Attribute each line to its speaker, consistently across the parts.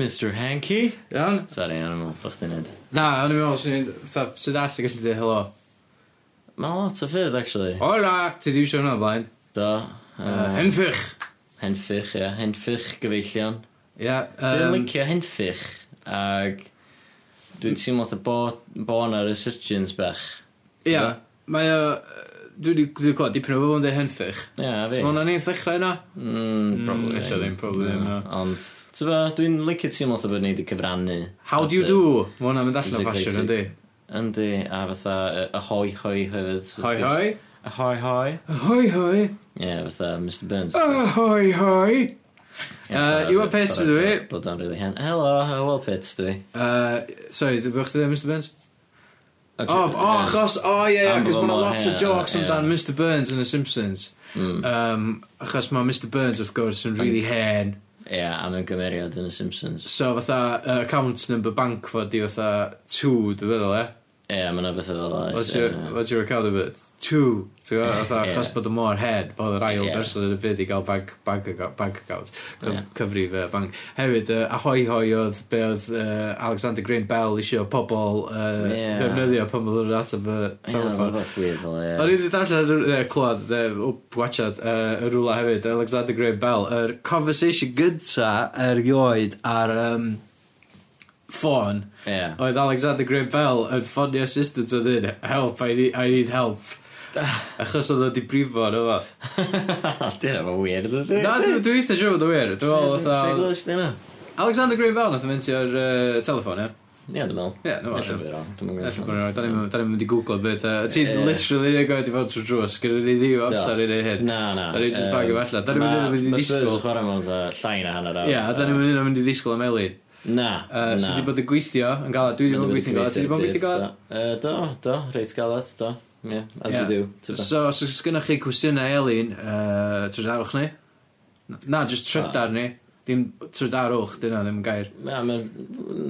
Speaker 1: Mr Hanky.
Speaker 2: Iawn?
Speaker 1: Sorry, o'n i'n meddwl bod chdi'n neud.
Speaker 2: Na, o'n i'n meddwl, swn i'n... fatha, Sut at ti'n gallu dweud helo?
Speaker 1: Mae'n lot o ffyrdd, actually.
Speaker 2: Hola! Ti di siwr hwnna o blaen?
Speaker 1: Do.
Speaker 2: Uh,
Speaker 1: Yy,
Speaker 2: Henffych!
Speaker 1: Henffych, ie. Henffych, gyfeillion.
Speaker 2: Ia.
Speaker 1: Dwi'n
Speaker 2: yym,
Speaker 1: licio henffych, ag... Dwi'n teimlo fatha bo, bo na resurgence bech.
Speaker 2: Ia. Mae o... yy, Dwi wedi clywed dipyn o bobl yn dweud henffych.
Speaker 1: Ie, yeah, fi.
Speaker 2: So mae'n anodd ddechrau yna?
Speaker 1: Mm, probably.
Speaker 2: Mm, ella ddim, probably ddim,
Speaker 1: Na,
Speaker 2: na.
Speaker 1: Ond, ti'n ba, dwi'n licio teimlo fatha bod ni wedi cyfrannu.
Speaker 2: How
Speaker 1: at
Speaker 2: do you
Speaker 1: y-
Speaker 2: do? Mae hwnna'n mynd allan o
Speaker 1: Basically,
Speaker 2: fashion,
Speaker 1: ti-
Speaker 2: yndi?
Speaker 1: Yndi, a fatha y- y hoi hoi hefyd.
Speaker 2: Hoi hoi.
Speaker 1: Y hoi hoi.
Speaker 2: Hoi hoi.
Speaker 1: Ie, fatha Mr Burns.
Speaker 2: Oh, hoi hoi.
Speaker 1: Ie,
Speaker 2: Uh,
Speaker 1: fatha
Speaker 2: Iwan
Speaker 1: bod-
Speaker 2: Pets
Speaker 1: bod-
Speaker 2: ydw i.
Speaker 1: Bod o'n rili hen. Helo, hello Pits dwi.
Speaker 2: Yy, Sorry, dwi'n gwybod chdi dweud Mr Burns?
Speaker 1: O,
Speaker 2: O, o, achos, o ie,
Speaker 1: Am
Speaker 2: achos
Speaker 1: bod
Speaker 2: mae'n
Speaker 1: mor
Speaker 2: lot o
Speaker 1: hen,
Speaker 2: jokes
Speaker 1: ie.
Speaker 2: amdan Mr Burns yn y Simpsons.
Speaker 1: Mm.
Speaker 2: Um, achos mae Mr Burns, wrth gwrs, yn really hen.
Speaker 1: Ie, a mewn gymeriad yn y Simpsons.
Speaker 2: So, fatha, uh, account number bank fod i fatha 2, dwi'n feddwl, e?
Speaker 1: Ie, mae'n bethau fel oes,
Speaker 2: What's
Speaker 1: ie.
Speaker 2: your, what's your account number? 2, ti'n gwybod? Fatha,
Speaker 1: Ie.
Speaker 2: achos bod y mor hen, bod yr ail
Speaker 1: Ie.
Speaker 2: person yn y byd i gael bank, bank, acco- bank account. Cyf,
Speaker 1: Ie.
Speaker 2: Cyfrif uh, bank. Hefyd, uh, ahoi hoi oedd be oedd uh, Alexander Graham Bell eisiau pobl uh,
Speaker 1: Ie.
Speaker 2: ddefnyddio pan oedd yn at y
Speaker 1: Ie, mae'n
Speaker 2: telefon.
Speaker 1: beth weird fel,
Speaker 2: O'n i
Speaker 1: ie.
Speaker 2: wedi darllen yr uh, clod, uh, watchad, uh, y rwla hefyd, Alexander Graham Bell, yr conversation gynta erioed ar um, ffôn,
Speaker 1: Ie.
Speaker 2: oedd Alexander Graham Bell yn ffonio assistant o ddyn, help, I need, I need help. Achos oedd o di brifo yn yma.
Speaker 1: Dyna mae'n weird, ydy.
Speaker 2: Na, dwi dwi eitha siw bod o wir. Dwi'n meddwl
Speaker 1: Lle
Speaker 2: oedd
Speaker 1: glwys di hynna?
Speaker 2: Alexander Graham Bell nath o mynd ar uh, telefon, ie?
Speaker 1: Ie, dwi'n meddwl.
Speaker 2: Ie,
Speaker 1: Ella
Speaker 2: no, allai.
Speaker 1: bod fi'n wrong, dwi'm yn
Speaker 2: Ello
Speaker 1: gwybod.
Speaker 2: bod yn rhaid, da ni'n mynd i googlo beth. Uh, Ti'n
Speaker 1: Ie.
Speaker 2: literally ni'n gwneud i fod trwy drws, gyda ni ddim amser i neud hyn.
Speaker 1: Na, na.
Speaker 2: Da ni'n just
Speaker 1: Yym,
Speaker 2: bagio allan. Da ni'n mynd i-
Speaker 1: ma-
Speaker 2: mynd i
Speaker 1: ma' Spurs
Speaker 2: disgwyl.
Speaker 1: yn chwarae mewn fatha llai na hanner awr.
Speaker 2: Ie, a da ni'n mynd i'n mynd i ddisgwyl am Elin.
Speaker 1: Na,
Speaker 2: Uh,
Speaker 1: na.
Speaker 2: so di bod yn gweithio yn galad, dwi wedi bod yn gweithio yn galad, ti wedi bod yn gweithio yn galad?
Speaker 1: Yy, Do, do, reit galad, do. Ie, as
Speaker 2: Ie.
Speaker 1: we do. ti'n gwbod.
Speaker 2: So, os oes gennych chi cwestiynau Elin, uh, trydarwch ni. Na, jyst trydar ni. Dim trydarwch, dyna ddim yn gair.
Speaker 1: Na, ma'n...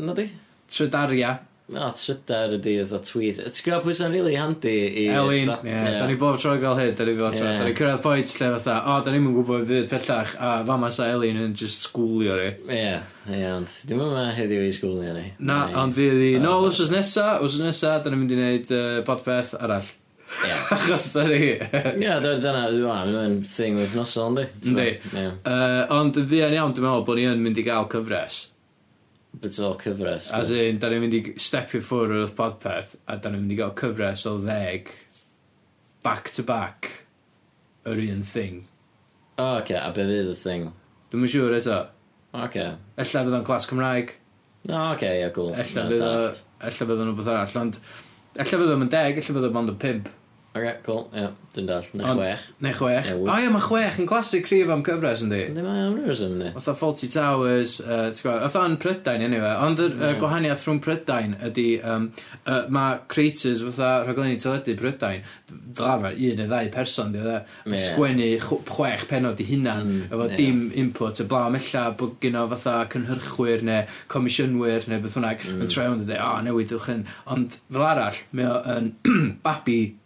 Speaker 1: Na di?
Speaker 2: Trydaria.
Speaker 1: Na, trydar ydi oedd o tweet. Ti'n gwybod pwy sy'n really handy i...
Speaker 2: Elin,
Speaker 1: dat-
Speaker 2: ie, da ni bob tro'n gael hyn, da ni bob tro'n.
Speaker 1: Ie.
Speaker 2: Da ni cyrraedd pwynt lle fatha, o, da ni'n gwybod fydd pellach, a fama sa Elin yn just sgwlio ni.
Speaker 1: Ie, ie, ond dim yma heddiw i sgwlio ni.
Speaker 2: Na, ond fydd i, nôl os oes nesa, os oes nesa, da ni'n mynd i wneud uh, podpeth arall.
Speaker 1: Ie.
Speaker 2: Achos da ni.
Speaker 1: Ie, dy- dyna, dyna, dyna'n thing with nosol, ynddi? Ti'n
Speaker 2: Yndi.
Speaker 1: gwbod? Ie.
Speaker 2: Uh, ond fi yn iawn, dwi'n meddwl bod ni yn mynd i gael cyfres.
Speaker 1: Bits o cyfres.
Speaker 2: As in, da ni'n mynd i stepio ffwrdd wrth podpeth, a da ni'n mynd i gael cyfres o ddeg, back to back, yr un thing.
Speaker 1: O, oce, a be fydd y thing?
Speaker 2: Dwi'n mynd siŵr eto.
Speaker 1: Oce.
Speaker 2: Ella fydd o'n glas Cymraeg,
Speaker 1: No, oce, ie, gwl.
Speaker 2: ella fydd o, ella fydd o'n rhywbeth arall, ond ella fydd o'n deg, ella fydd o'n ond yn pimp,
Speaker 1: Oce, cool, ie, dwi'n dall. Na
Speaker 2: Ond-
Speaker 1: chwech.
Speaker 2: neu chwech.
Speaker 1: Ie,
Speaker 2: O
Speaker 1: wyth.
Speaker 2: ie, mae chwech yn glasur cryf am cyfres yndi.
Speaker 1: Ynddi mae am rhywbeth yn ni?
Speaker 2: Otha Faulty Towers, uh, ti'n gwybod, otha yn Prydain anyway, ond y uh,
Speaker 1: Mm.
Speaker 2: gwahaniaeth rhwng Prydain ydy, um, uh, mae creators fatha rhaglenni teledu Prydain, drafer un neu ddau person, di oedd
Speaker 1: Ie.
Speaker 2: e, sgwennu chw- chwech penod i hunan,
Speaker 1: Mm,
Speaker 2: efo
Speaker 1: ie.
Speaker 2: dim input, y blaw mella bod gen o fatha cynhyrchwyr neu comisiynwyr neu beth hwnnag,
Speaker 1: Mm.
Speaker 2: yn troi hwnnw dweud, o, newidwch yn, ond fel arall, mae o'n babi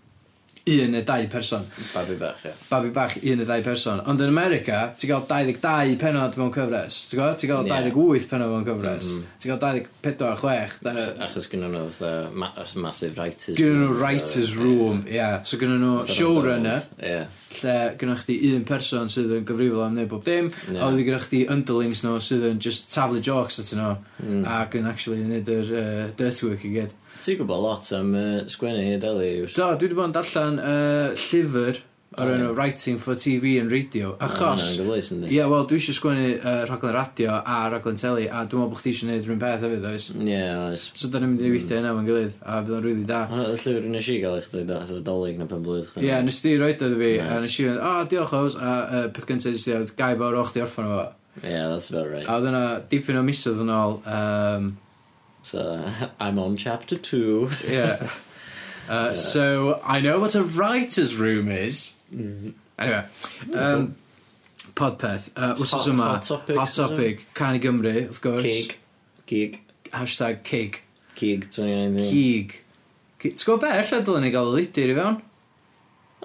Speaker 2: un neu dau person.
Speaker 1: Babi bach, ie.
Speaker 2: Babi bach un neu ddau person. Ond yn America, ti'n gael 22 penod mewn cyfres. Ti'n gael, ti'n gael
Speaker 1: Ie.
Speaker 2: 28 penod mewn cyfres.
Speaker 1: Mhm.
Speaker 2: Ti'n gael 24, 6. Da...
Speaker 1: Achos gynnu nhw fatha ma- massive writers.
Speaker 2: Gynnu nhw
Speaker 1: so-
Speaker 2: writer's room, ie. Yeah. So gynnu nhw
Speaker 1: Fatha
Speaker 2: showrunner,
Speaker 1: McDonald's, Ie.
Speaker 2: lle gynnu chdi un person sydd yn gyfrifol am neud bob dim,
Speaker 1: Ie.
Speaker 2: a wedi gynnu chdi underlings nhw sydd yn just taflu jokes atyn nhw,
Speaker 1: Mm.
Speaker 2: ac yn actually neud yr uh, dirty work i gyd.
Speaker 1: Ti'n gwybod lot am yy, sgwennu i deli. yws?
Speaker 2: Do, dwi wedi bod yn darllen uh, llyfr o'r
Speaker 1: O, ie.
Speaker 2: enw Writing for TV and Radio,
Speaker 1: Ma'
Speaker 2: achos...
Speaker 1: hwnna'n gyfleus, yndi?
Speaker 2: Ie, yeah, wel, dwi eisiau sgwennu uh, rhaglen radio a rhaglen teli, a dwi'n meddwl bod chdi eisiau gwneud rhywun peth hefyd, oes?
Speaker 1: Ie, oes.
Speaker 2: So, da ni'n mynd i weithio yna fo'n gilydd, a fydd o'n rili da. Ie,
Speaker 1: Hwnna y llyfr nes i gael eich dweud oedd y dolyg na pen blwydd. chdi.
Speaker 2: yeah, nes ti roed oedd fi, a
Speaker 1: Hmm. Nice.
Speaker 2: nes i fynd, o, diolch oes, a uh, peth gyntaf nes ti oedd gai fawr o'ch di orffan efo.
Speaker 1: Yeah, that's about right.
Speaker 2: A oedd yna dipyn o misoedd yn ôl, um,
Speaker 1: So, I'm on chapter two.
Speaker 2: yeah. Uh, so, I know what a writer's room is. Mm. Anyway, um, podpeth, uh, wsos
Speaker 1: Hot-
Speaker 2: yma,
Speaker 1: hot topics,
Speaker 2: hot topic, can i Gymru, wrth gwrs.
Speaker 1: Cig. Cig.
Speaker 2: Hashtag cig.
Speaker 1: Cig 2019.
Speaker 2: Cig. Ci- Ti'n gwybod be, lle dylen ni gael y lidur i fewn?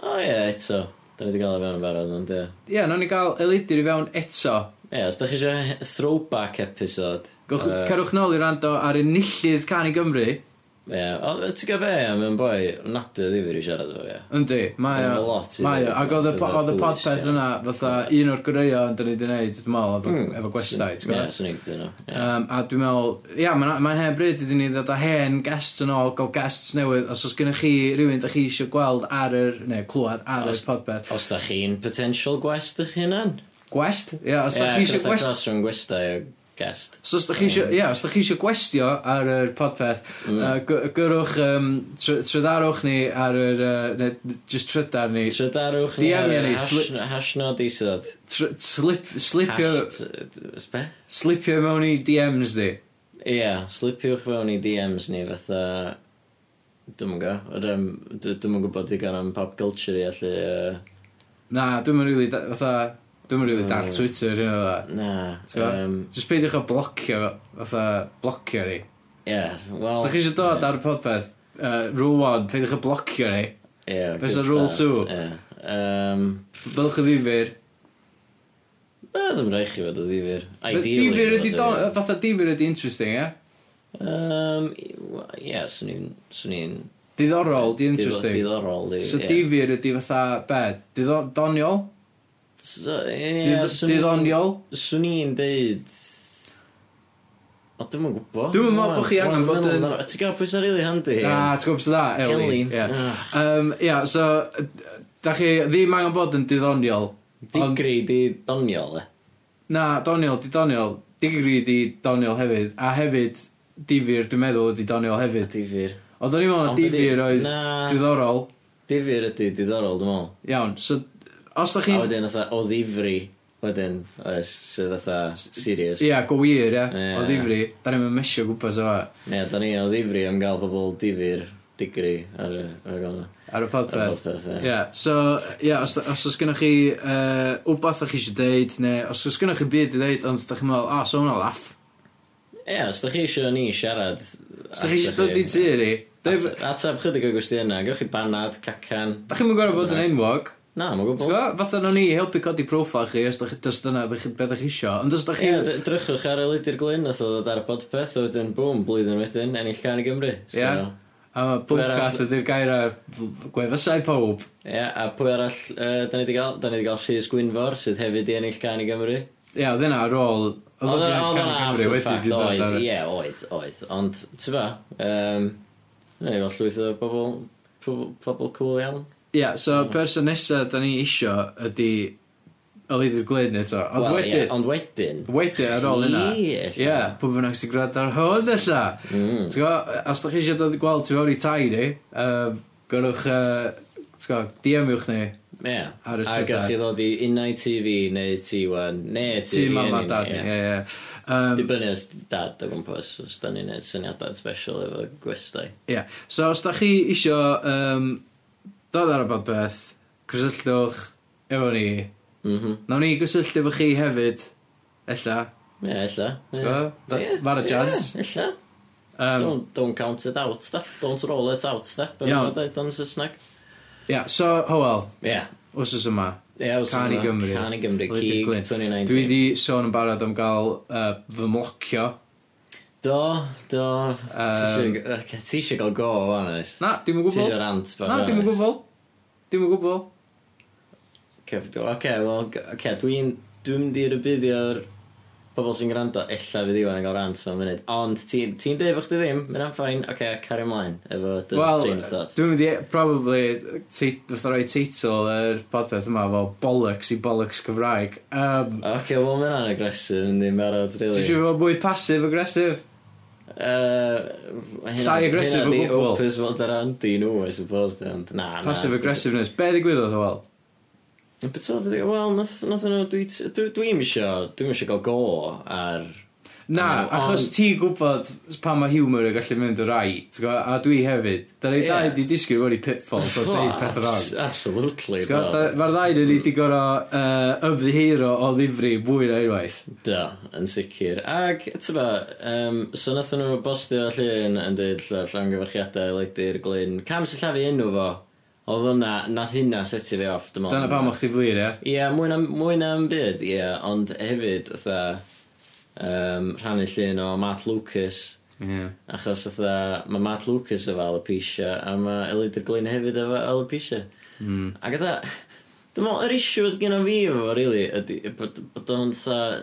Speaker 1: O ie, eto. Da ni wedi gael e fewn yn barod, ond ie.
Speaker 2: Ie, yeah, ni gael y lidur i fewn eto.
Speaker 1: Ie, Ie, os da chi eisiau throwback episode...
Speaker 2: Gowch,
Speaker 1: yy,
Speaker 2: Cerwch nôl i rando ar enillydd Can i Gymru.
Speaker 1: Ie, ond ti'n gael be, mae'n boi, nadur ddifur i siarad efo, ie.
Speaker 2: Yndi, mae
Speaker 1: Ma'
Speaker 2: o.
Speaker 1: lot i
Speaker 2: Mae o.
Speaker 1: ddeud,
Speaker 2: Ac oedd y po-
Speaker 1: fatha
Speaker 2: oedd y
Speaker 1: dwys,
Speaker 2: podpeth
Speaker 1: ie.
Speaker 2: yna, fatha un o'r gwreuon dyn ni wedi gwneud, dwi'n meddwl,
Speaker 1: Hmm,
Speaker 2: efo- efo gwestai, ti'n
Speaker 1: Ie,
Speaker 2: gwybod?
Speaker 1: swn i'n gyda'n nhw.
Speaker 2: Um, a dwi'n meddwl, ia, mae'n ma hen bryd ydyn ni ddod â hen guests yn ôl, gael guests newydd, os oes gennych chi rhywun da chi eisiau gweld ar yr, neu clywed ar yr
Speaker 1: Os-
Speaker 2: podpeth.
Speaker 1: Os da chi'n potential gwest ych hunan?
Speaker 2: Gwest? Ia, os da chi eisiau
Speaker 1: gwest? Ie,
Speaker 2: gwest...
Speaker 1: croes rhwng gwestai o guest.
Speaker 2: So os da chi eisiau, ia, os da chi eisiau gwestio ar yr podpeth, mm. uh, gw- gyrwch, um, tr trydarwch ni ar yr, uh, neu just trydar ni,
Speaker 1: Trydarwch
Speaker 2: DM
Speaker 1: ar
Speaker 2: ni,
Speaker 1: hash-
Speaker 2: sli-
Speaker 1: Hashnod isod.
Speaker 2: tr slip, slipio,
Speaker 1: Hasht- Be?
Speaker 2: slipio mewn i DMs di.
Speaker 1: Ie, slipiwch fewn i DMs ni fatha... Dwi'n go. Dwi'n yn gwybod digon am pop culture i allu... yy,
Speaker 2: Na, dwi'n mynd rili, really, fatha, dwi'n mynd rili really dar
Speaker 1: Mm.
Speaker 2: Twitter, hyn o dda.
Speaker 1: Na.
Speaker 2: T'go'?
Speaker 1: yym,
Speaker 2: Just peidiwch o blocio, fatha, blocio ni.
Speaker 1: Ie, wel...
Speaker 2: Os da chi eisiau dod ar y podpeth, uh, rule 1, peidiwch o blocio ni.
Speaker 1: Ie,
Speaker 2: Be'
Speaker 1: good
Speaker 2: sa rule
Speaker 1: start,
Speaker 2: two?
Speaker 1: Ie. Yym...
Speaker 2: Bylwch o ddifur.
Speaker 1: Na, dwi'n rhaid chi fod o ddifur. Ideally,
Speaker 2: Difur ydi,
Speaker 1: fod o
Speaker 2: do-
Speaker 1: ddifyr.
Speaker 2: fatha difur ydi interesting, ie?
Speaker 1: Um, i- ie, swn i'n... Swn i'n...
Speaker 2: Diddorol, di
Speaker 1: didd-
Speaker 2: interesting.
Speaker 1: Diddorol, di.
Speaker 2: So
Speaker 1: ie.
Speaker 2: difur ydi fatha, be, diddo- doniol?
Speaker 1: So, ie,
Speaker 2: Didd-
Speaker 1: swn i'n-
Speaker 2: Diddoniol?
Speaker 1: Swn i'n deud... O, dwi'n yn gwybod.
Speaker 2: Dwi'm yn meddwl bo' chi angen bod yn-
Speaker 1: Ti'n gael pwysau really handi?
Speaker 2: Na, ti'n gwybod sy'n dda? Elin.
Speaker 1: Elin.
Speaker 2: Ie,
Speaker 1: Ah,
Speaker 2: Yym, ie, so, yy, da chi ddim angen bod yn diddoniol. Ond-
Speaker 1: Digri di doniol, e.
Speaker 2: Na, doniol, di doniol. Digri di doniol hefyd. A hefyd, difur, dwi'n meddwl, ydi doniol hefyd.
Speaker 1: Difyr.
Speaker 2: Ond o'n i'n meddwl na
Speaker 1: Ond be' di-
Speaker 2: difur oedd
Speaker 1: na.
Speaker 2: diddorol.
Speaker 1: Difyr ydi diddorol, dwi'n meddwl.
Speaker 2: Iawn, so, os da
Speaker 1: A
Speaker 2: chi'n...
Speaker 1: wedyn, fatha, o ddifri. Wedyn, oes, sydd fatha serious.
Speaker 2: Ia, go wir, ia,
Speaker 1: Ie.
Speaker 2: o ddifri. Da ni'n mynd mesio gwmpas o fa
Speaker 1: Ie, da ni o ddifri am gael pobl difyr, digri ar y ar y gofna.
Speaker 2: ar y
Speaker 1: Ar y
Speaker 2: podpeth.
Speaker 1: podpeth, ie.
Speaker 2: Ia, so, ia, os, da- os oes gennych chi uh, wbath o'ch chi eisiau deud, neu os oes gennych chi byd i deud, ond da chi'n meddwl, o, so hwnna laff.
Speaker 1: Ie, os da chi eisiau ni siarad...
Speaker 2: Os da chi eisiau dod i tu ni, da
Speaker 1: At- Atab chydig o gwestiynau, gawch chi banad, cacan.
Speaker 2: chi'n mynd gorau bod yn enwog,
Speaker 1: Na, mae'n gwybod.
Speaker 2: Ti'n gwbo? Fatha o'n i helpu codi profile chi os da chi dys dyna be chi- be da chi isio. Ond os da chi...
Speaker 1: Ie, d- drychwch ar y lidur glyn os oedd ar y podpeth, a wedyn, boom, blwyddyn wedyn, ennill can i Gymru. So,
Speaker 2: Ie. A ma'
Speaker 1: Pwy arall-
Speaker 2: podcast ydy'r gair a gwefusau pob.
Speaker 1: Ie, a pwy arall, uh, da ni wedi gael, da ni wedi gael Rhys Gwynfor, sydd hefyd i ennill can i Gymru.
Speaker 2: Ie, oedd yna ar ôl...
Speaker 1: Oedd
Speaker 2: hwnna
Speaker 1: o'n
Speaker 2: ar
Speaker 1: oedd o'n
Speaker 2: Canu Cymru
Speaker 1: after
Speaker 2: wedi
Speaker 1: fact,
Speaker 2: dod ar
Speaker 1: oedd,
Speaker 2: y-
Speaker 1: ie, oedd, oedd. Ond, ti'n ba, um, ni fel llwyth o bobl, pobl- pobl cool iawn.
Speaker 2: Ie, so
Speaker 1: Mm-hmm.
Speaker 2: person nesa da ni isio ydy Olydydd Glyn eto. Ond
Speaker 1: Wel, ie,
Speaker 2: wedyn...
Speaker 1: Ond wedyn.
Speaker 2: Wedyn ar ôl yna.
Speaker 1: Chi,
Speaker 2: Ie,
Speaker 1: ella.
Speaker 2: pwy bynnag sy'n gwrando ar hwn ella.
Speaker 1: Mm.
Speaker 2: T'go, os da chi eisiau dod i gweld tu fewn i tai ni, yym, gorwch, yy, t'go, DM-iwch ni.
Speaker 1: Ie.
Speaker 2: Ar
Speaker 1: A
Speaker 2: y trydar.
Speaker 1: gath i ddod i unai TV neu T1 neu T1.
Speaker 2: Ti mam a dad ni, ie, ie. Yym,
Speaker 1: Dibynnu os dad o gwmpas, os da ni'n neud syniadau special efo gwestai.
Speaker 2: Ie, yeah. so os da chi isio um, dod ar y podpeth, cysylltwch efo ni.
Speaker 1: Mhm.
Speaker 2: Nawn ni gysylltu efo chi hefyd, ella.
Speaker 1: Ie, ella.
Speaker 2: Ti'n gwbo? Da- ma'r a chance.
Speaker 1: Ie, ella.
Speaker 2: Um,
Speaker 1: Don't, don't count it out, da. Don't roll it out, da.
Speaker 2: Iawn.
Speaker 1: Iawn. Don't Saesneg.
Speaker 2: Ie, yeah, so, Howell,
Speaker 1: Ie.
Speaker 2: wsos yma.
Speaker 1: Ie, os
Speaker 2: Can i
Speaker 1: yna.
Speaker 2: Gymru.
Speaker 1: Can i Gymru,
Speaker 2: Wledig
Speaker 1: Cig
Speaker 2: Glyn.
Speaker 1: 2019.
Speaker 2: Dwi wedi sôn yn barod am gael uh, fy mlocio.
Speaker 1: Do, do.
Speaker 2: Yym.
Speaker 1: Ti isio- ocê, Ti eisiau gael go o fan oes?
Speaker 2: Na, dim yn
Speaker 1: Ti eisiau
Speaker 2: gwybod.
Speaker 1: rant bach
Speaker 2: Na,
Speaker 1: o
Speaker 2: dim yn
Speaker 1: fan, oes?
Speaker 2: gwybod. Dim yn gwybod.
Speaker 1: Oce, okay, wel, g- oce, dwi'n dwi mynd i'r byddio'r pobl sy'n gwrando, ella fydd Iwan yn gael rant fan munud. Ond ti'n ti dweud bod chdi ddim, mae'n am ffain, oce, okay, cari ymlaen efo dy
Speaker 2: Wel,
Speaker 1: train of thought.
Speaker 2: dwi'n mynd i, probably, tit- fatha rhoi teitl yr podpeth yma fel Bollocks i Bollocks Cymraeg. Um,
Speaker 1: Oce, okay, wel, mae'n anagresif yn ddim barod,
Speaker 2: Ti
Speaker 1: really.
Speaker 2: eisiau fod mwy passive-aggressive?
Speaker 1: Uh,
Speaker 2: Llai aggressive o
Speaker 1: Hynna di
Speaker 2: gwbl.
Speaker 1: opus fel dy randy nhw, I suppose, di, ond na, na.
Speaker 2: Passive-aggressiveness. Be ddigwyddodd o wel?
Speaker 1: Beth oedd wedi, wel, nath nath nhw, dwi- dwi- dwi'n isio, dwi'n isio gael go ar...
Speaker 2: Na,
Speaker 1: Wel,
Speaker 2: achos
Speaker 1: ond-
Speaker 2: ti'n gwybod pa mae humour yn gallu mynd o rai, ti'n gwybod? A dwi hefyd. Da ni
Speaker 1: Ie.
Speaker 2: ddau di disgyn wedi pitfalls o dweud peth wrong.
Speaker 1: Abs- Absolutely,
Speaker 2: Ti'n
Speaker 1: do.
Speaker 2: gwbod? Da- Mae'r ddau ni wedi gorau uh, ymddihiro o ddifri fwy na unwaith.
Speaker 1: Do, yn sicr. Ag, tyfa, um, so nath nhw bostio llun yn dweud lla- llongyfarchiadau leidi'r glyn. Cam sy'n llafu enw fo, Oedd hwnna, nath hynna setio fi off, dim ond.
Speaker 2: Dyna pam o'ch ti flir, ie?
Speaker 1: Ie, mwy na, mwy na yn byd, ie, ond hefyd, fatha, um, rhannu llun o Matt Lucas,
Speaker 2: Ie.
Speaker 1: achos fatha, mae Matt Lucas efo alopecia, a mae Elidr Glyn hefyd efo alopecia.
Speaker 2: Mm.
Speaker 1: Ac yda, dwi'n meddwl, yr issue gyda fi efo, fo, really, ydy, bod, bod o'n fatha,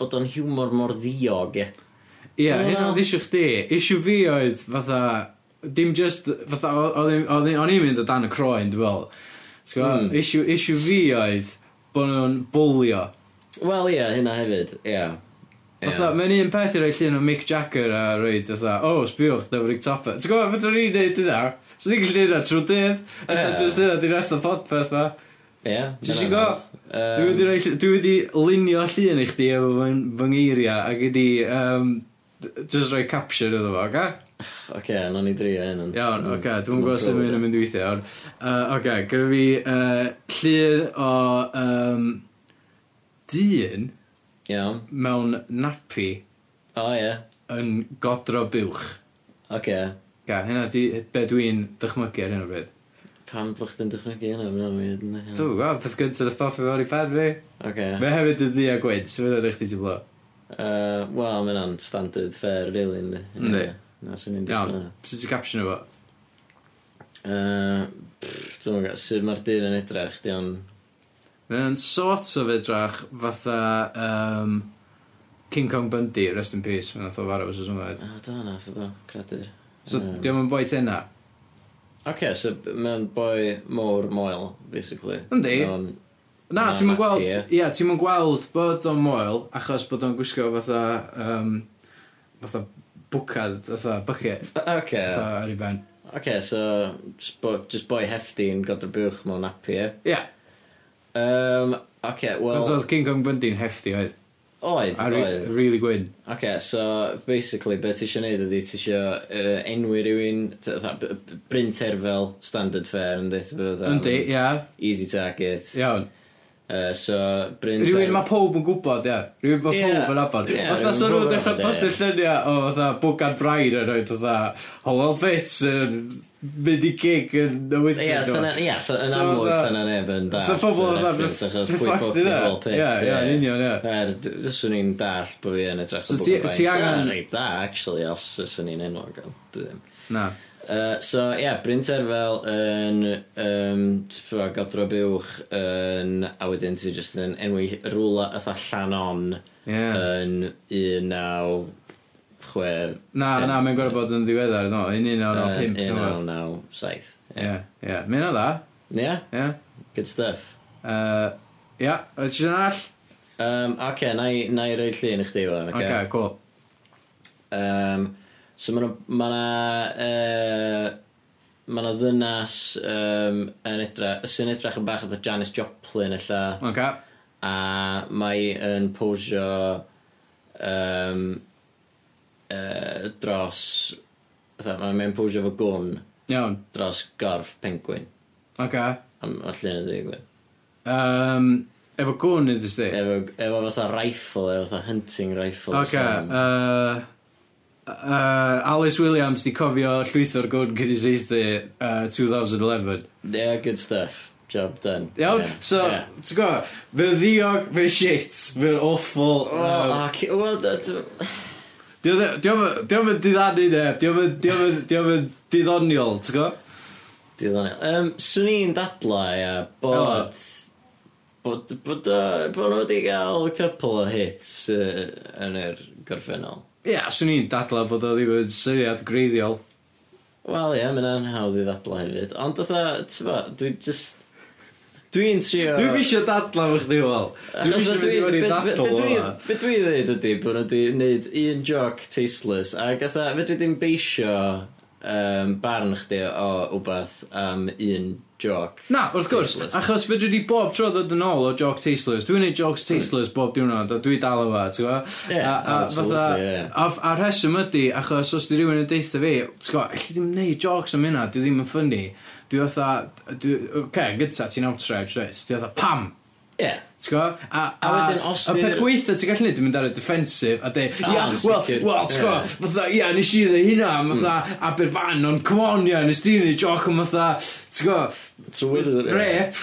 Speaker 1: bod o'n humor mor ddiog, ie.
Speaker 2: Ie,
Speaker 1: Wel-
Speaker 2: hyn oedd isio chdi. Isio fi oedd fatha... Dim just... Fatha, o- oedd un- oedd un- o'n i'n mynd o dan y croen, dwi'n fel.
Speaker 1: Mm.
Speaker 2: Mm. Isio, isio fi oedd bod nhw'n bwlio.
Speaker 1: Wel, ie, hynna hefyd, ie. Ie.
Speaker 2: Fatha, mae'n un peth i roi llun o Mick Jagger a roi, fatha, o, oh, sbiwch, Dyfrig Topper. T'w gwybod, fydra ni'n neud yna? So ni'n gallu neud yna trwy dydd. Alla,
Speaker 1: Ie.
Speaker 2: just yna, di rest o podpeth, ma.
Speaker 1: Ie.
Speaker 2: Ti
Speaker 1: hynna'n
Speaker 2: isio go?
Speaker 1: anodd. Yym,
Speaker 2: Dwi wedi, roi, ll- dwi wedi lunio llun i chdi efo fy fy ngeiriau ac wedi um, just rhoi caption iddo fo, oce?
Speaker 1: Oce, nawn ni drio hyn. ond
Speaker 2: Iawn,
Speaker 1: dwi'm- dwi'm
Speaker 2: oce, dwi'n e.
Speaker 1: yn
Speaker 2: gwybod sut
Speaker 1: pro
Speaker 2: mae'n
Speaker 1: gyda.
Speaker 2: mynd i weithio, iawn. Uh, oce, gyda fi uh, llun o um, dyn
Speaker 1: Iawn.
Speaker 2: mewn napi
Speaker 1: O, ie.
Speaker 2: yn godro buwch.
Speaker 1: Oce.
Speaker 2: Ga, hynna di be dwi'n dychmygu ar hyn o bryd.
Speaker 1: Pam bod chdi'n dychmygu hynna? Mae'n weird. yndi? Ie.
Speaker 2: Dwi'n gwybod, peth gyntaf oedd popio fewn i pen fi.
Speaker 1: Oce.
Speaker 2: Mae hefyd yn ddi a gwyn, sy'n mynd ar eich di ti blo.
Speaker 1: Yy, Wel, mae hynna'n standard fair, really, yndi?
Speaker 2: Yndi.
Speaker 1: Ie. Na, swn i'n
Speaker 2: Iawn,
Speaker 1: disgwyl.
Speaker 2: sut ti'n caption efo?
Speaker 1: Yy, pff, Dwi'm yn gwybod, sut mae'r dyn yn edrych? Di o'n...
Speaker 2: Mae o'n sort of edrach fatha um, King Kong Bundy, rest in peace, mae'n atho farw os oes ymwneud.
Speaker 1: A, da, na, da, credur.
Speaker 2: So,
Speaker 1: Yym.
Speaker 2: diolch yn boi tenna.
Speaker 1: Oce, so mae'n boi mowr moel, basically.
Speaker 2: Yndi.
Speaker 1: O'n-
Speaker 2: Na,
Speaker 1: Na, naci,
Speaker 2: ti'n mwyn gweld,
Speaker 1: ie.
Speaker 2: ia, ti'n mwyn gweld bod o'n moel, achos bod o'n gwisgo fatha, um, fatha bwcad, fatha bucket,
Speaker 1: Oce.
Speaker 2: fatha ar ei ben.
Speaker 1: Oce, so, just boi- just boi hefty yn godro bwch mewn napi, ie?
Speaker 2: Ia,
Speaker 1: Um, Oce, wel...
Speaker 2: achos oedd King Kong Bundy'n hefty oedd,
Speaker 1: Oedd,
Speaker 2: a
Speaker 1: oedd.
Speaker 2: ri- really gwyn.
Speaker 1: OK, so basically, be ti eisiau neud ydy ti eisiau uh, enwi rhywun, t- fatha, b- b- Bryn Terfel, standard fare, yndi, ti bod
Speaker 2: Yndi, ia,
Speaker 1: easy target.
Speaker 2: iawn.
Speaker 1: Uh, so, Bryn
Speaker 2: Rwy'n mae pob yn gwybod, ia. Rwy'n mae
Speaker 1: Ie.
Speaker 2: pob yn abod.
Speaker 1: Ie,
Speaker 2: Fatha
Speaker 1: rywun
Speaker 2: sy'n
Speaker 1: ma'
Speaker 2: nhw'n
Speaker 1: powb yn
Speaker 2: dechrau
Speaker 1: nabod,
Speaker 2: postio
Speaker 1: ie.
Speaker 2: lluniau o fatha bwgan brain yn oed fatha Howell Fitz yn mynd i gig yn y
Speaker 1: Ie,
Speaker 2: wythnos.
Speaker 1: so na- ie, so yn
Speaker 2: So
Speaker 1: amlwg,
Speaker 2: fatha-
Speaker 1: so na neb yn da.
Speaker 2: So pobl yn dda,
Speaker 1: Achos pwy ffwc yn bol pit.
Speaker 2: Ie, ie, yn union, ie.
Speaker 1: Er, d- fyswn i'n dall bod fi yn edrych
Speaker 2: So
Speaker 1: yn
Speaker 2: ti-
Speaker 1: bwg o
Speaker 2: ti angen-
Speaker 1: Reit da, actually, os fyswn i'n enwog. ond dwi ddim.
Speaker 2: Na.
Speaker 1: Uh, so, ie, yeah, Bryn Terfel yn um, tfa, godro buwch yn, a wedyn ti jyst yn enwi rwla ytha Llanon
Speaker 2: Ie.
Speaker 1: yn 19... Chwe...
Speaker 2: Na, na, mae'n gorau bod yn ddiweddar, no. Un un o'n o'n pimp. neu rwbath.
Speaker 1: 1997.
Speaker 2: Ie, ie. Mae'n o dda,
Speaker 1: Ie,
Speaker 2: ie.
Speaker 1: good stuff.
Speaker 2: Yy, Ie, oes ti'n all?
Speaker 1: Um, Oce, na i- na i roi llun i chdi fan, oce?
Speaker 2: Ok, cool.
Speaker 1: Um, so mae yna... Uh, mae yna ddynas um, yn edrych, sy'n edrych yn bach oedd Janis Joplin, illa.
Speaker 2: Ok.
Speaker 1: a mae yn posio um, uh, dros fatha, mae- mae'n posio fo gwn
Speaker 2: Iawn.
Speaker 1: dros gorff penguin
Speaker 2: Ok.
Speaker 1: am o llun y ddigwyd
Speaker 2: Yym, Efo gwn iddi sti?
Speaker 1: efo, efo fatha rifle efo fatha hunting rifle
Speaker 2: Ok, uh, uh, Alice Williams di cofio llwytho'r gwn cyniseithi uh, 2011.
Speaker 1: yeah, good stuff job done
Speaker 2: Iawn,
Speaker 1: Yeah,
Speaker 2: so,
Speaker 1: yeah.
Speaker 2: ti'n gwybod, mae'n ddiog, mae'n shit, mae'n awful.
Speaker 1: Oh, ac, well, that,
Speaker 2: Diolch yn diddanu neb, diolch yn diddoniol, ti'n gwybod?
Speaker 1: diddorol. Um, swn i'n dadla, ia, bod... Bod, bod, uh, bod nhw wedi cael couple o hits uh, yn yr gorffennol.
Speaker 2: Ia, yeah, swn i'n dadla bod o ddim yn syniad greiddiol.
Speaker 1: Wel ie, mae'n anhawdd i ddadla hefyd. Ond dda, ti'n dwi just... Dwi'n trio...
Speaker 2: Dwi'n misio dadla fo chdi, wel. Dwi'n
Speaker 1: Achos dwi-
Speaker 2: misio mynd i fod i
Speaker 1: be- be-
Speaker 2: dadl
Speaker 1: be
Speaker 2: o
Speaker 1: dwi-
Speaker 2: hwnna.
Speaker 1: Be dwi'n dweud ydy bod nhw wedi gwneud un joc tasteless a gatha, fe dwi ddim beisio um, barn chdi o wbath am un joc.
Speaker 2: Na, wrth gwrs,
Speaker 1: Tasteless.
Speaker 2: achos fe dwi di bob tro ddod yn ôl o Jock Tasteless. Dwi'n neud Jock Tasteless bob diwrnod, a dwi dal efo, ti'n gwybod?
Speaker 1: Ie, absolutely, ie.
Speaker 2: A, a rheswm ydy, achos os di rhywun yn deitha fi, ti'n gwybod, alli ddim neud jocs am hynna, dwi ddim yn ffynnu. Dwi fatha, dwi, oce, okay, gyda ti'n outrage, reit, dwi fatha, pam?
Speaker 1: Ie.
Speaker 2: T'go? A, a,
Speaker 1: A wedyn os
Speaker 2: y peth
Speaker 1: di'r-
Speaker 2: gweitha ti'n gallu neud yn mynd ar y defensive a dweud,
Speaker 1: O,
Speaker 2: ia,
Speaker 1: yn
Speaker 2: wel,
Speaker 1: sicr.
Speaker 2: wel, t'go,
Speaker 1: Ie.
Speaker 2: fatha, ia, nes i ddeu hynna, am fatha, Aberfan, ond come on, ia, nes di ni joc am fatha, t'go,
Speaker 1: Trwy'r...
Speaker 2: rep.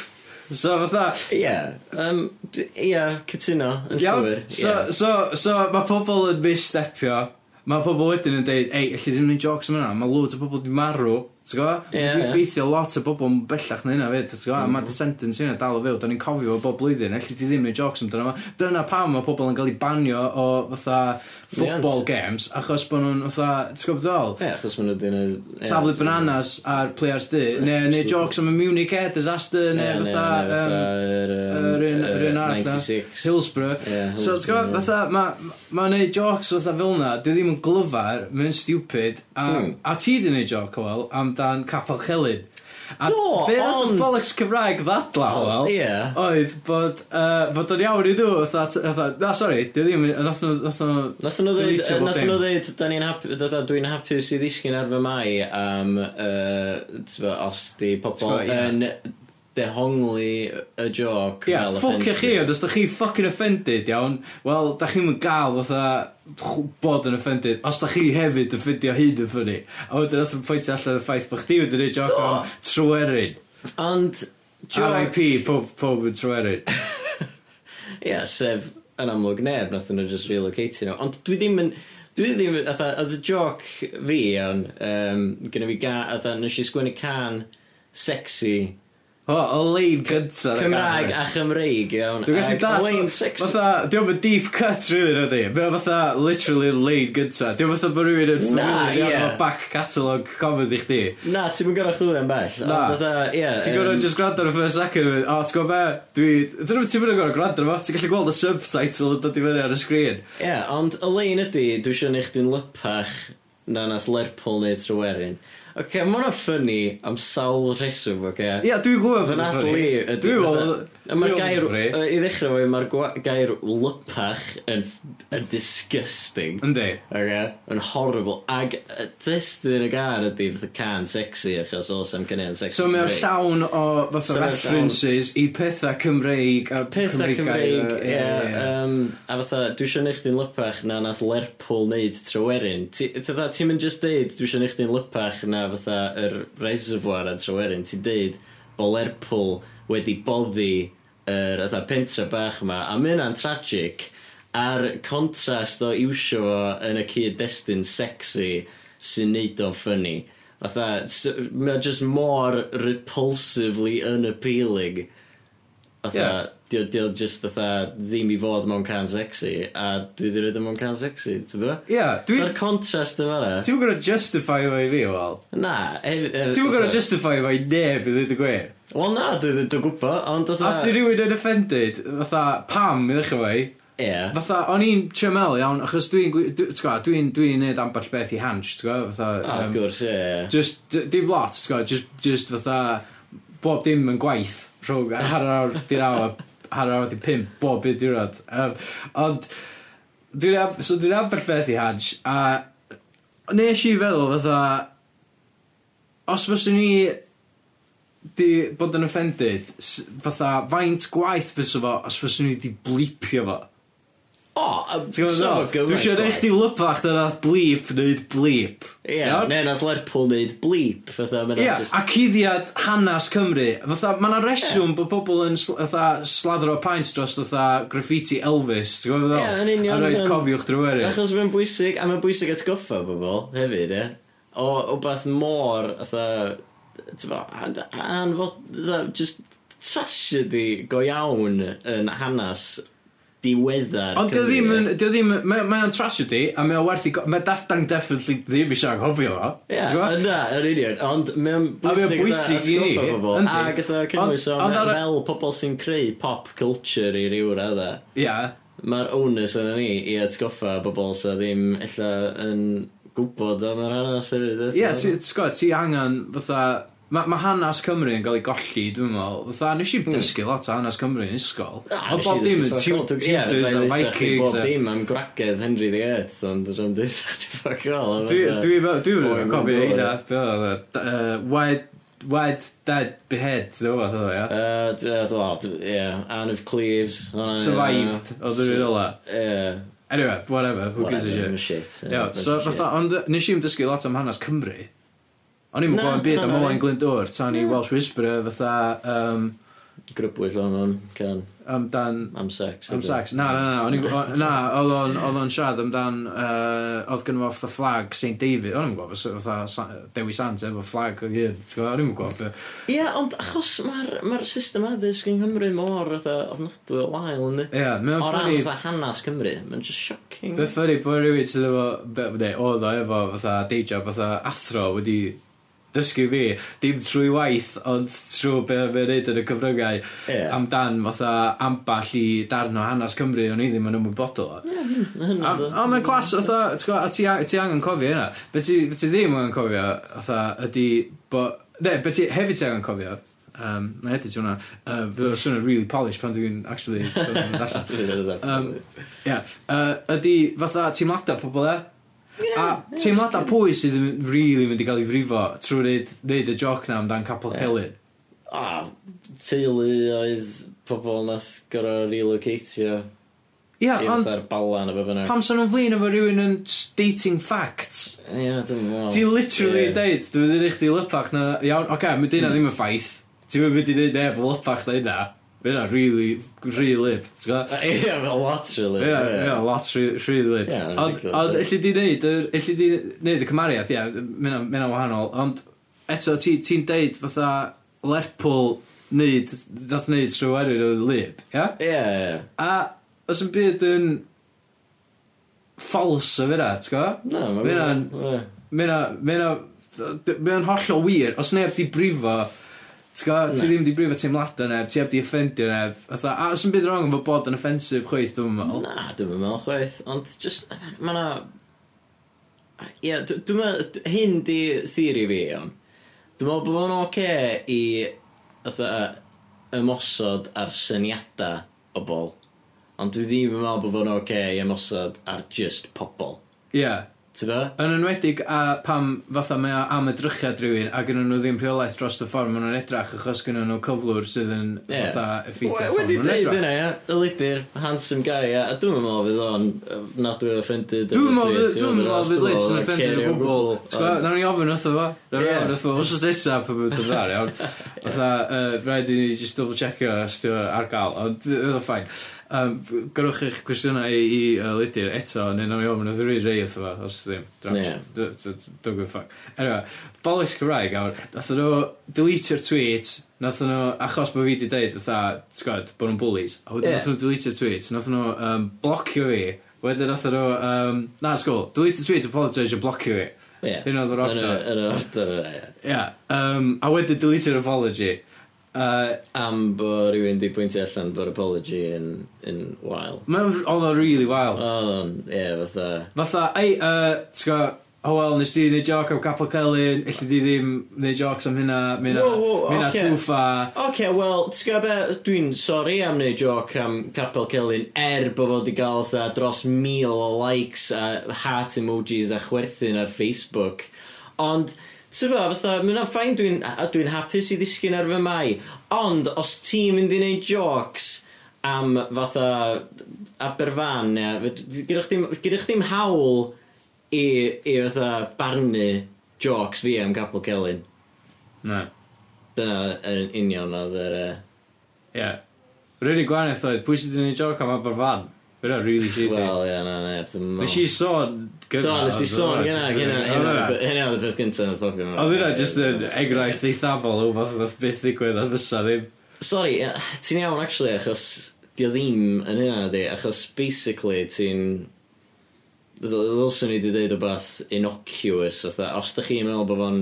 Speaker 2: So fatha,
Speaker 1: Ie. Yym, d- Ie, cytuno, yn llwyr.
Speaker 2: iawn, so, so, so, mae pobl yn misstepio, mae pobl wedyn yn deud, ei, allu ddim ni jocs am hynna, mae loads o bobl di marw, t'go,
Speaker 1: Ie,
Speaker 2: yeah,
Speaker 1: ie. Mhm.
Speaker 2: yeah. ffeithio lot o bobl yn bellach na hynna fyd, t'go, a mae descendants hynna dal o fyw, da ni'n cofio o bob blwyddyn, allu di ddim neud jocs amdano fo. Dyna pam mae pobl yn cael eu banio o fatha football
Speaker 1: Yes.
Speaker 2: games, achos bod nhw'n fatha, ti'n gwybod dol?
Speaker 1: Ie, achos maen nhw wedi gwneud...
Speaker 2: Taflu bananas ar players di, neu neu
Speaker 1: absolutely.
Speaker 2: jocs am y Munich air disaster, neu fatha... yym, yr un- yr un arall na.
Speaker 1: 96.
Speaker 2: Hillsborough.
Speaker 1: Ie,
Speaker 2: so,
Speaker 1: Hillsborough,
Speaker 2: ti'n gwybod,
Speaker 1: ie.
Speaker 2: fatha, ma- ma'n neud jocs fatha fel na, dwi ddim yn glyfar, mae'n stupid, a,
Speaker 1: Hmm.
Speaker 2: a ti di neud joc, wel, amdan capel celyn. A
Speaker 1: Do,
Speaker 2: be nath y
Speaker 1: ond-
Speaker 2: bollocks Cymraeg ddadla, wel,
Speaker 1: Ie.
Speaker 2: oedd bod, uh, bod o'n iawn i nhw, fatha, t- fatha, na, sori, dwi ddim, yn- nath nhw, nath nhw,
Speaker 1: Nath nhw ddeud,
Speaker 2: Deletable
Speaker 1: nath
Speaker 2: thing.
Speaker 1: nhw ddeud, da ni'n hapu- fatha, dwi'n hapus i ddisgyn ar fy mai am, yy, t'bo, os di
Speaker 2: T'bo,
Speaker 1: pobl
Speaker 2: ie.
Speaker 1: yn dehongli y joc.
Speaker 2: Ia,
Speaker 1: fel
Speaker 2: ffwc
Speaker 1: offensive.
Speaker 2: chi, ond os da chi fucking offended, iawn, wel, da chi'n mynd gael fatha chw- bod yn offended, os da chi hefyd yn ffindio hyn yn ffynnu. A wedyn nath yn pwyntio allan y ffaith bod chdi wedi'n neud joc am trwerin.
Speaker 1: Ond, joc...
Speaker 2: RIP, pob, pob yn trwerin.
Speaker 1: Ie, sef yn amlwg neb, nath nhw just relocate nhw. Ond dwi ddim yn... Dwi ddim, atha, oedd y joc fi, iawn, um, gyda fi ga, atha, nes i sgwennu can sexy
Speaker 2: O, o lein gyntaf.
Speaker 1: Cymraeg a Chymreig, iawn.
Speaker 2: Dwi'n
Speaker 1: ac
Speaker 2: gallu
Speaker 1: Lein
Speaker 2: dad,
Speaker 1: sexy.
Speaker 2: fatha, diolch yn deep cut rili na di, mae'n fatha literally lein gyntaf, diolch fatha bod rhywun yn
Speaker 1: Na,
Speaker 2: ffamiliar
Speaker 1: ie.
Speaker 2: iawn o back catalog comedy chdi.
Speaker 1: Na, ti'n mynd gorau chwilio am bell.
Speaker 2: Na.
Speaker 1: Ond fatha, ie.
Speaker 2: Ti'n gwrdd
Speaker 1: yym,
Speaker 2: just gwrando ar y first second yn mynd, o, ti'n gwrdd be, dwi... Dyn nhw'n ti'n mynd yn gwrdd gwrando ar fo, ti'n gallu gweld y subtitle yn dod i fyny ar y sgrin.
Speaker 1: Ie, ond y lein ydy, dwi eisiau neud chdi'n lypach na nath Lerpwl neu Tryweryn. Oce, okay, mae hwnna ffynnu am sawl rheswm, oce? Okay?
Speaker 2: Ia, dwi'n gwybod
Speaker 1: Fy
Speaker 2: fy'n
Speaker 1: nadlu ydy...
Speaker 2: Dwi'n
Speaker 1: fatha-
Speaker 2: gwybod...
Speaker 1: Ma'r gair... yy, I ddechrau fo, mae'r gwa- gair lypach yn, f- yn disgusting.
Speaker 2: Yndi.
Speaker 1: Okay? Yn horrible. Ag y testyn y gair ydy fatha can sexy, achos oes am cynnig sexy.
Speaker 2: So mae'n
Speaker 1: Cymreig.
Speaker 2: llawn o fatha
Speaker 1: So mae o'n
Speaker 2: references i pethau Cymreig a
Speaker 1: Pethau
Speaker 2: gair,
Speaker 1: Cymreig,
Speaker 2: yy,
Speaker 1: ie.
Speaker 2: ie, ie.
Speaker 1: yym, A fatha, dwi eisiau neud chdi'n lypach na nath Lerpwl neud Tryweryn. Ti- Fatha, ti'n mynd just deud, dwi eisiau neud chdi'n lypach na fatha yr reservoir a Tryweryn. Ti'n deud bod Lerpwl wedi boddi yr fatha pentra bach yma, a mae hynna'n tragic a'r contrast o iwsio fo yn y cyd-destun sexy sy'n neud o'n ffynnu. Fatha, s- mae o just more repulsively unappealing.
Speaker 2: Ie.
Speaker 1: Fatha, yeah. di o just fatha ddim i fod mewn can sexy, a dwi di rhaid mewn can sexy, ti'n bo?
Speaker 2: Ie,
Speaker 1: Dwi...
Speaker 2: dwi...
Speaker 1: So'r contrast yma na?
Speaker 2: Ti'n gwrdd justify fo i fi, wel?
Speaker 1: Na. e- e-
Speaker 2: Ti'n
Speaker 1: fatha-
Speaker 2: gwrdd justify fo i neb i ddweud y gwir?
Speaker 1: Wel na, dwi dwi- dwi'n gwybod, ond fatha...
Speaker 2: Os di rhywun yn offended, fatha, pam i ddechrau fo i,
Speaker 1: Ie.
Speaker 2: Fatha, o'n i'n trymel iawn, achos dwi'n, gwi- dwi- t'gwo, dwi'n, dwi'n neud ambell beth i hans, t'gwo, fatha...
Speaker 1: Ah, wrth
Speaker 2: yym,
Speaker 1: gwrs, ie, ie.
Speaker 2: Just, d- dim lot, t'gwo, just, just fatha, bob dim yn gwaith, rhwng har awr, di'r awr, har awr, di pimp, bob byd diwrnod. Um, ond, dwi'n, am- so dwi'n ambell beth i hans, a nes i feddwl fatha, os fyswn i di bod yn offended, s- fatha, faint gwaith fysa fo, os fyswn i di blipio fo.
Speaker 1: O, a-
Speaker 2: Ti'n
Speaker 1: so
Speaker 2: gwybod be
Speaker 1: gymaint
Speaker 2: dwi'n feddwl? Dwi eisiau neud
Speaker 1: gwaith.
Speaker 2: chdi lypach na nath bleep wneud bleep.
Speaker 1: Ie,
Speaker 2: Iawn?
Speaker 1: neu nath Lerpwl neud bleep, fatha, mae'n
Speaker 2: Ie,
Speaker 1: just...
Speaker 2: a cuddiad hanes Cymru. Fatha, mae yna reswm bod pobl yn sl fatha, sladro paint dros fatha graffiti Elvis, ti'n gwybod
Speaker 1: Ie, yn union,
Speaker 2: A roed
Speaker 1: yn-
Speaker 2: cofiwch drwy'r
Speaker 1: Achos mae'n bwysig, a mae'n bwysig atgoffa bobl hefyd, ie. O wbath mor, atha, tyfo, anfod, atha, just tragedy go iawn yn hanes diweddar.
Speaker 2: Ond dio
Speaker 1: Cymru,
Speaker 2: ddim yn,
Speaker 1: ie.
Speaker 2: dio ddim, mae o'n tragedy, a mae o werth i, go- mae Daft Punk definitely ddim eisiau anghofio fo.
Speaker 1: Ie,
Speaker 2: ti'n gwbod?
Speaker 1: yna, yr union, ond mae'n
Speaker 2: A mae o'n
Speaker 1: bwysig,
Speaker 2: bwysig i ni,
Speaker 1: atgoffa bobl.
Speaker 2: yndi.
Speaker 1: Ac atha, cynnwys o,
Speaker 2: Ond- ond ar y-
Speaker 1: fel pobl sy'n creu pop culture i ryw radda.
Speaker 2: Ie.
Speaker 1: Mae'r onus yna ni i atgoffa bobl sy'n ddim, ella, yn gwybod am yr hanes hefyd. ie,
Speaker 2: Ie,
Speaker 1: t'bo'?
Speaker 2: ti- ti'n gwybod, ti angen fatha... Mae ma hanes Cymru yn cael ei golli, dwi'n meddwl. Fatha, nes i dysgu lot o hanes Cymru yn ysgol.
Speaker 1: Ah,
Speaker 2: Ond
Speaker 1: nes Hmm.
Speaker 2: bob
Speaker 1: i
Speaker 2: dim yn
Speaker 1: ddysgu
Speaker 2: tu-
Speaker 1: ffordd- Ie,
Speaker 2: Tudors
Speaker 1: fydda
Speaker 2: a
Speaker 1: i'n ddeutha chdi
Speaker 2: Vikings.
Speaker 1: Bob
Speaker 2: a-
Speaker 1: dim am gwragedd Henry VIII, ond rwy'n dweud chdi ffordd gael.
Speaker 2: Dwi- Dwi fel- dwi
Speaker 1: Boy
Speaker 2: yn cofio
Speaker 1: Mandela.
Speaker 2: hynna. Wed wed, dead, behead, dwi'n gwybod, dwi'n gwybod,
Speaker 1: Yy, Uh, d- yy, dwi'n meddwl, d- ie, Anne of Cleves.
Speaker 2: ia.
Speaker 1: hwnna,
Speaker 2: Survived,
Speaker 1: yy,
Speaker 2: o ddwy ola.
Speaker 1: Ie.
Speaker 2: Anyway, whatever, who gives a
Speaker 1: whatever,
Speaker 2: shit.
Speaker 1: shit. Ie,
Speaker 2: Ia, so
Speaker 1: shit.
Speaker 2: fatha, ond nes i'n dysgu lot am hanes Cymru. O'n i'n
Speaker 1: Na,
Speaker 2: gwybod yn byd am
Speaker 1: na, na,
Speaker 2: Owain
Speaker 1: na.
Speaker 2: Glyndwr, tan i Welsh Whisperer, fatha, um,
Speaker 1: Grybwyll o'n o'n can
Speaker 2: amdan
Speaker 1: am sex.
Speaker 2: Am
Speaker 1: ydy.
Speaker 2: sex. Na, na, na. o'n i'n gw- o- Na, oedd o'n- oedd o'n siarad amdan... Uh, oedd gynnu fo fatha flag St David. O'n i'n gwybod, fatha Sa- Dewi Sant efo flag o gyd. T'gwo, O'n i'n gwybod beth.
Speaker 1: Ie, ond achos mae'r ma system addysg yng Nghymru mor fatha ofnadwy o wael yn di.
Speaker 2: Ie, yeah, mae'n
Speaker 1: O ran
Speaker 2: ffynu...
Speaker 1: fatha hanes Cymru, mae'n just shocking.
Speaker 2: Beth ffynu bod rhywun sydd efo... be- Ne, oedd o efo fatha deija, fatha athro wedi dysgu fi. Dim trwy waith, ond trwy beth mae'n neud yn y cyfryngau.
Speaker 1: Ie.
Speaker 2: Amdan fatha amball i darn o hanes Cymru, o'n i ddim yn ymwybodol o. A
Speaker 1: Hynna,
Speaker 2: a mae'n glas, otha, ti'n gwbod, a ti a- ti angen cofio hynna. Be ti, be ti ddim angen cofio, otha, ydi, bo... Ne, be ti hefyd ti angen cofio, um, na edrych hwnna, uh, fydd o'n swnio'n really polished pan dwi'n actually dod yn allan.
Speaker 1: dda.
Speaker 2: Um, Ia, uh, ydi, fatha, teimladau pobl e, A teimladau pwy sydd yn really mynd i gael ei frifo trwy neud, neud y joc na amdan Capel
Speaker 1: Ie.
Speaker 2: Celyn.
Speaker 1: A, teulu oedd pobl nath gorau relocatio
Speaker 2: Ia,
Speaker 1: i
Speaker 2: ond
Speaker 1: fatha'r balan o be bynnag.
Speaker 2: pam sy'n nhw'n flin efo rhywun yn stating facts?
Speaker 1: Ie, dwi'n meddwl.
Speaker 2: Ti
Speaker 1: Oh, Ie.
Speaker 2: literally
Speaker 1: Hmm.
Speaker 2: yn deud, dwi'n mynd i chdi lypach na, iawn, oce, okay, mae dyna ddim yn ffaith. Ti'n mynd i ddeud neb lypach na hynna. Mae hynna really, really lip, ti'n gwybod?
Speaker 1: Ie, fel lot, really.
Speaker 2: Ie, ie, lot rhy rhy lip.
Speaker 1: Ie,
Speaker 2: Ond,
Speaker 1: ridiculous,
Speaker 2: ond,
Speaker 1: ie.
Speaker 2: illi di neud, yr- illi di neud y cymariaeth, ie, mae hynna- mae hynna'n wahanol. Ond, eto, ti- ti'n deud fatha Lerpwl neud, dath neud trwy erin o lip, ie?
Speaker 1: Ie, ie.
Speaker 2: A, os yn byd yn false o fyna, ti'n gwybod?
Speaker 1: Na,
Speaker 2: Mae
Speaker 1: mae'n...
Speaker 2: hynna'n- Mae yna, mae yna, mae yna'n hollol wir, os neb di brifo, ti'n gwbo, ti
Speaker 1: Na.
Speaker 2: ddim di brifo teimladau neb, ti heb di offendio neb, fatha, a os yn byd wrong efo bod yn offensif chweith, dwi'n meddwl.
Speaker 1: Na, dwi'n meddwl chwaith, ond just, mae na... Ie, dw- dwi'n meddwl, d- hyn di theori fi, iawn. Dwi'n meddwl bod o'n oce i, fatha, ymosod ar syniadau o bol. Ond dwi ddim yn meddwl bod o'n oce i ymosod ar just pobol.
Speaker 2: Ie.
Speaker 1: Ti'n fawr?
Speaker 2: Yn enwedig a pam fatha mae o am edrychad rhywun a gynnu nhw ddim rheolaeth dros y ffordd maen nhw'n edrach achos gynnu nhw cyflwr sydd yn
Speaker 1: Ie.
Speaker 2: fatha effeithio ffordd
Speaker 1: Wedi
Speaker 2: maen nhw'n
Speaker 1: dweud
Speaker 2: edrach.
Speaker 1: yna, ia, y lidur, handsome guy, ia, a dwi'n meddwl fydd o'n yy, nad dwi'n offended.
Speaker 2: Dwi'n
Speaker 1: efo'r
Speaker 2: meddwl
Speaker 1: tweets, iawn,
Speaker 2: fydd- dwi'n meddwl fydd
Speaker 1: dwi'n
Speaker 2: Leeds yn
Speaker 1: meddwl,
Speaker 2: offended
Speaker 1: cario
Speaker 2: o gwbl.
Speaker 1: gwbl,
Speaker 2: T'gwo,
Speaker 1: ond-
Speaker 2: Nawn ni ofyn wrtho fo. Nawn
Speaker 1: Ie.
Speaker 2: ni ofyn wrtho fo. Os oes nesa pan bydd yn dar iawn. Fatha, yy, rhaid i ni just double checkio os ti ar gael. Ond oedd o ffain. Um, Gorwch eich cwestiynau i, i uh, Lydir eto, neu nawn ni ofyn wrtho rhaid rhaid wrtho fo, os ddim. Draws.
Speaker 1: Ie.
Speaker 2: D- d- d- Don't give a fuck. Anyway, Bolis Cymraeg, awr, nath nhw deletio'r tweet, nath nhw, achos bod fi wedi deud, fatha, sgod, bod nhw'n bullies, a wedyn
Speaker 1: Ie.
Speaker 2: nath nhw deletio'r tweet, nath nhw um, blocio fi, wedyn nath nhw, um, na, sgol, deletio'r tweet, apologise, a blocio fi.
Speaker 1: Ie.
Speaker 2: Hyn oedd
Speaker 1: Yn
Speaker 2: yr order.
Speaker 1: y- Yn yr order yna, ie.
Speaker 2: Ia, yeah, um, a wedyn deletio'r apology. Uh,
Speaker 1: Am bod rhywun di pwyntio allan bod apology yn, yn wael.
Speaker 2: Mae'n oedd o'n really wild.
Speaker 1: Oedd o'n, ie, fatha...
Speaker 2: Fatha, ei, uh, ti'n gwybod, oh well, nes di neud joc am Capel Celyn, illi di ddim neud jocs am hynna, mynd
Speaker 1: Wow, wow,
Speaker 2: a
Speaker 1: ocê.
Speaker 2: trwffa.
Speaker 1: OK, wel, ti'n gwybod be, dwi'n sori am neud joc am Capel Celyn er bod fod i gael fatha dros mil o likes a heart emojis a chwerthin ar Facebook. Ond, ti'n gwybod, fatha, mae'n ffain dwi'n a dwi'n hapus i ddisgyn ar fy mai. Ond, os ti'n mynd i neud jocs am fatha Aberfan, neu, fed- gyrwch dim, gyrwch dim hawl i, i fatha barnu jocs fi am Capel Celyn.
Speaker 2: Na.
Speaker 1: Dyna yn union oedd yr... Uh,
Speaker 2: Ie. Yeah. Rydyn gwanaeth oedd, pwy sydd wedi'i joc am Aberfan? Fyna really shady. Well,
Speaker 1: Wel, ie, na, na, dwi'n
Speaker 2: Nes i sôn
Speaker 1: Do, nes di sôn gyna, gyna, hynna
Speaker 2: Oedd
Speaker 1: oedd- hynna oedd y peth gyntaf nath popio mewn.
Speaker 2: hynna just yn enghraifft eithafol o fath oedd byth ddigwydd oedd fysa ddim.
Speaker 1: Sorry, ie, ti'n iawn, actually, achos di o ddim yn hynna, na di, achos basically ti'n... Ddylswn i wedi dweud o bath innocuous, fatha, os da chi'n meddwl bod fo'n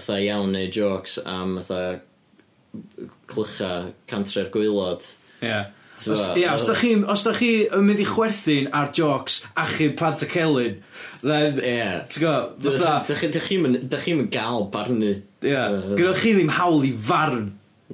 Speaker 1: fatha iawn neu jokes am fatha clycha cantre'r gwylod.
Speaker 2: Ie.
Speaker 1: Ti'n
Speaker 2: Os-
Speaker 1: gwbod?
Speaker 2: Ie, os da chi, os da chi yn mynd i chwerthin ar jocs achub pant y celyn, then,
Speaker 1: Ie.
Speaker 2: ti'n gwybod, fatha,
Speaker 1: Dych chi'n mynd gael barnu.
Speaker 2: ie, gyda chi ddim hawl i farn.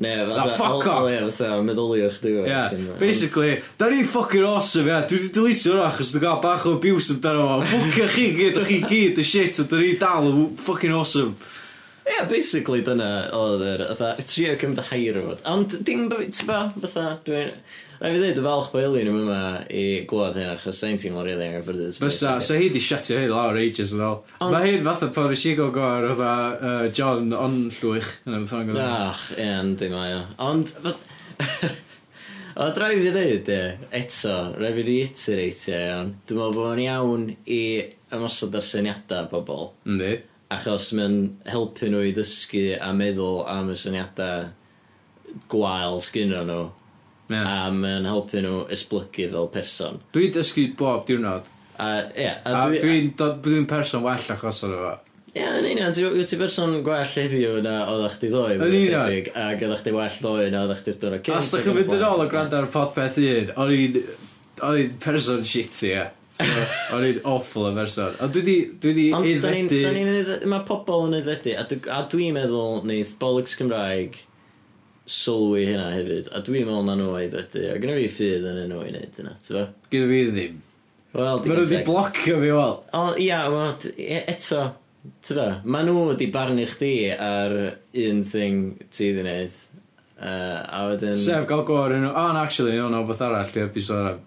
Speaker 1: Ne,
Speaker 2: Na,
Speaker 1: fatha...
Speaker 2: fuck
Speaker 1: o- o-
Speaker 2: off.
Speaker 1: Ie, fatha, meddyliwch chdi. fo.
Speaker 2: Yeah,
Speaker 1: Fucking-
Speaker 2: basically, da ni'n ffocin awesome, yeah. Dwi wedi deletio hwnna achos dwi'n gael bach o abuse amdano fo. Ffwcio chi gyd, o chi gyd, y shit, a da ni dal yn ffocin awesome.
Speaker 1: Ie, Ie, yeah, basically dyna oedd yr, fatha, trio cymryd y hair o fod. Ond dim, by- t'ba, fatha, dwi'n... Rhaid fi ddweud, y falch bo Elin ddim yma i glywed hyn, achos sain ti'n mor really anghyffyrddus.
Speaker 2: Fysa, so hi di siatio hyn lawr ages yn ôl.
Speaker 1: Ond-
Speaker 2: Mae hyn fatha pan ys i go gwar oedd uh, John Onllwych. yna beth bynnag oedd hwnna.
Speaker 1: Ach, ie, yndi mae o. Ond, fod... Oedd rhaid fi ddweud, ie, eto, rhaid fi reiterate, ie, iawn. Dwi'n meddwl bod o'n iawn i ymosod ar syniadau bobl.
Speaker 2: Yndi.
Speaker 1: Achos mae'n helpu nhw i ddysgu a meddwl am y syniadau gwael sgynno nhw.
Speaker 2: Ie.
Speaker 1: A mae'n helpu nhw esblygu fel person.
Speaker 2: Dwi'n dysgu bob diwrnod.
Speaker 1: A, ie, a,
Speaker 2: A
Speaker 1: dwi-
Speaker 2: dwi'n dod- dwi'n person well achos o'n efo.
Speaker 1: Ie, yn union, ti- wyt ti berson gwell heddiw na oeddach chdi ddoe.
Speaker 2: Yn union.
Speaker 1: Ac oeddach chdi well ddoe na oeddach chdi'r dwrnod cynt.
Speaker 2: Os da
Speaker 1: ac
Speaker 2: chi'n
Speaker 1: yn y
Speaker 2: fynd yn
Speaker 1: blaen.
Speaker 2: ôl o gwrando ar podpeth un, o'n i'n o'n i'n person shitty, ie. So, O'n i'n awful o person. Ond dwi di, dwi di
Speaker 1: Ond da ni'n- da
Speaker 2: aeddfedu...
Speaker 1: ni'n aedde- mae pobl yn aeddedu, a dw- a dwi'n meddwl wneud bolygs Cymraeg sylwi hynna hefyd, a dwi'n meddwl na nhw aeddedu, a gyda fi ffydd yn nhw i wneud hynna, ti'n fo?
Speaker 2: Gyda fi ddim.
Speaker 1: Wel,
Speaker 2: Mae nhw di
Speaker 1: digon teg.
Speaker 2: blocio fi, wel.
Speaker 1: O, ia, wel, d- e- eto, ti'n fo, ma nhw di barnu chdi ar un thing ti di wneud, uh, a wedyn...
Speaker 2: Sef gael gwr yn nhw. Oh, actually, o'n o'n beth arall, dwi'n byd sôn am.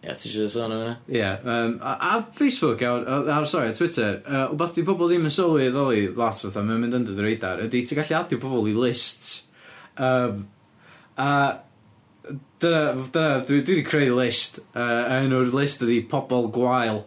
Speaker 1: Ia, ti eisiau sôn am hynna?
Speaker 2: Ie. yym, A a Facebook, iawn, o- a sorry, Twitter, yy, wbeth di pobl ddim yn sylwi ddoli lot fatha, mae'n mynd under the radar, ydy ti'n gallu adio pobl i lists. Um, a dyna, dyna, dwi wedi creu list, yy, a enw'r list ydi pobl gwael.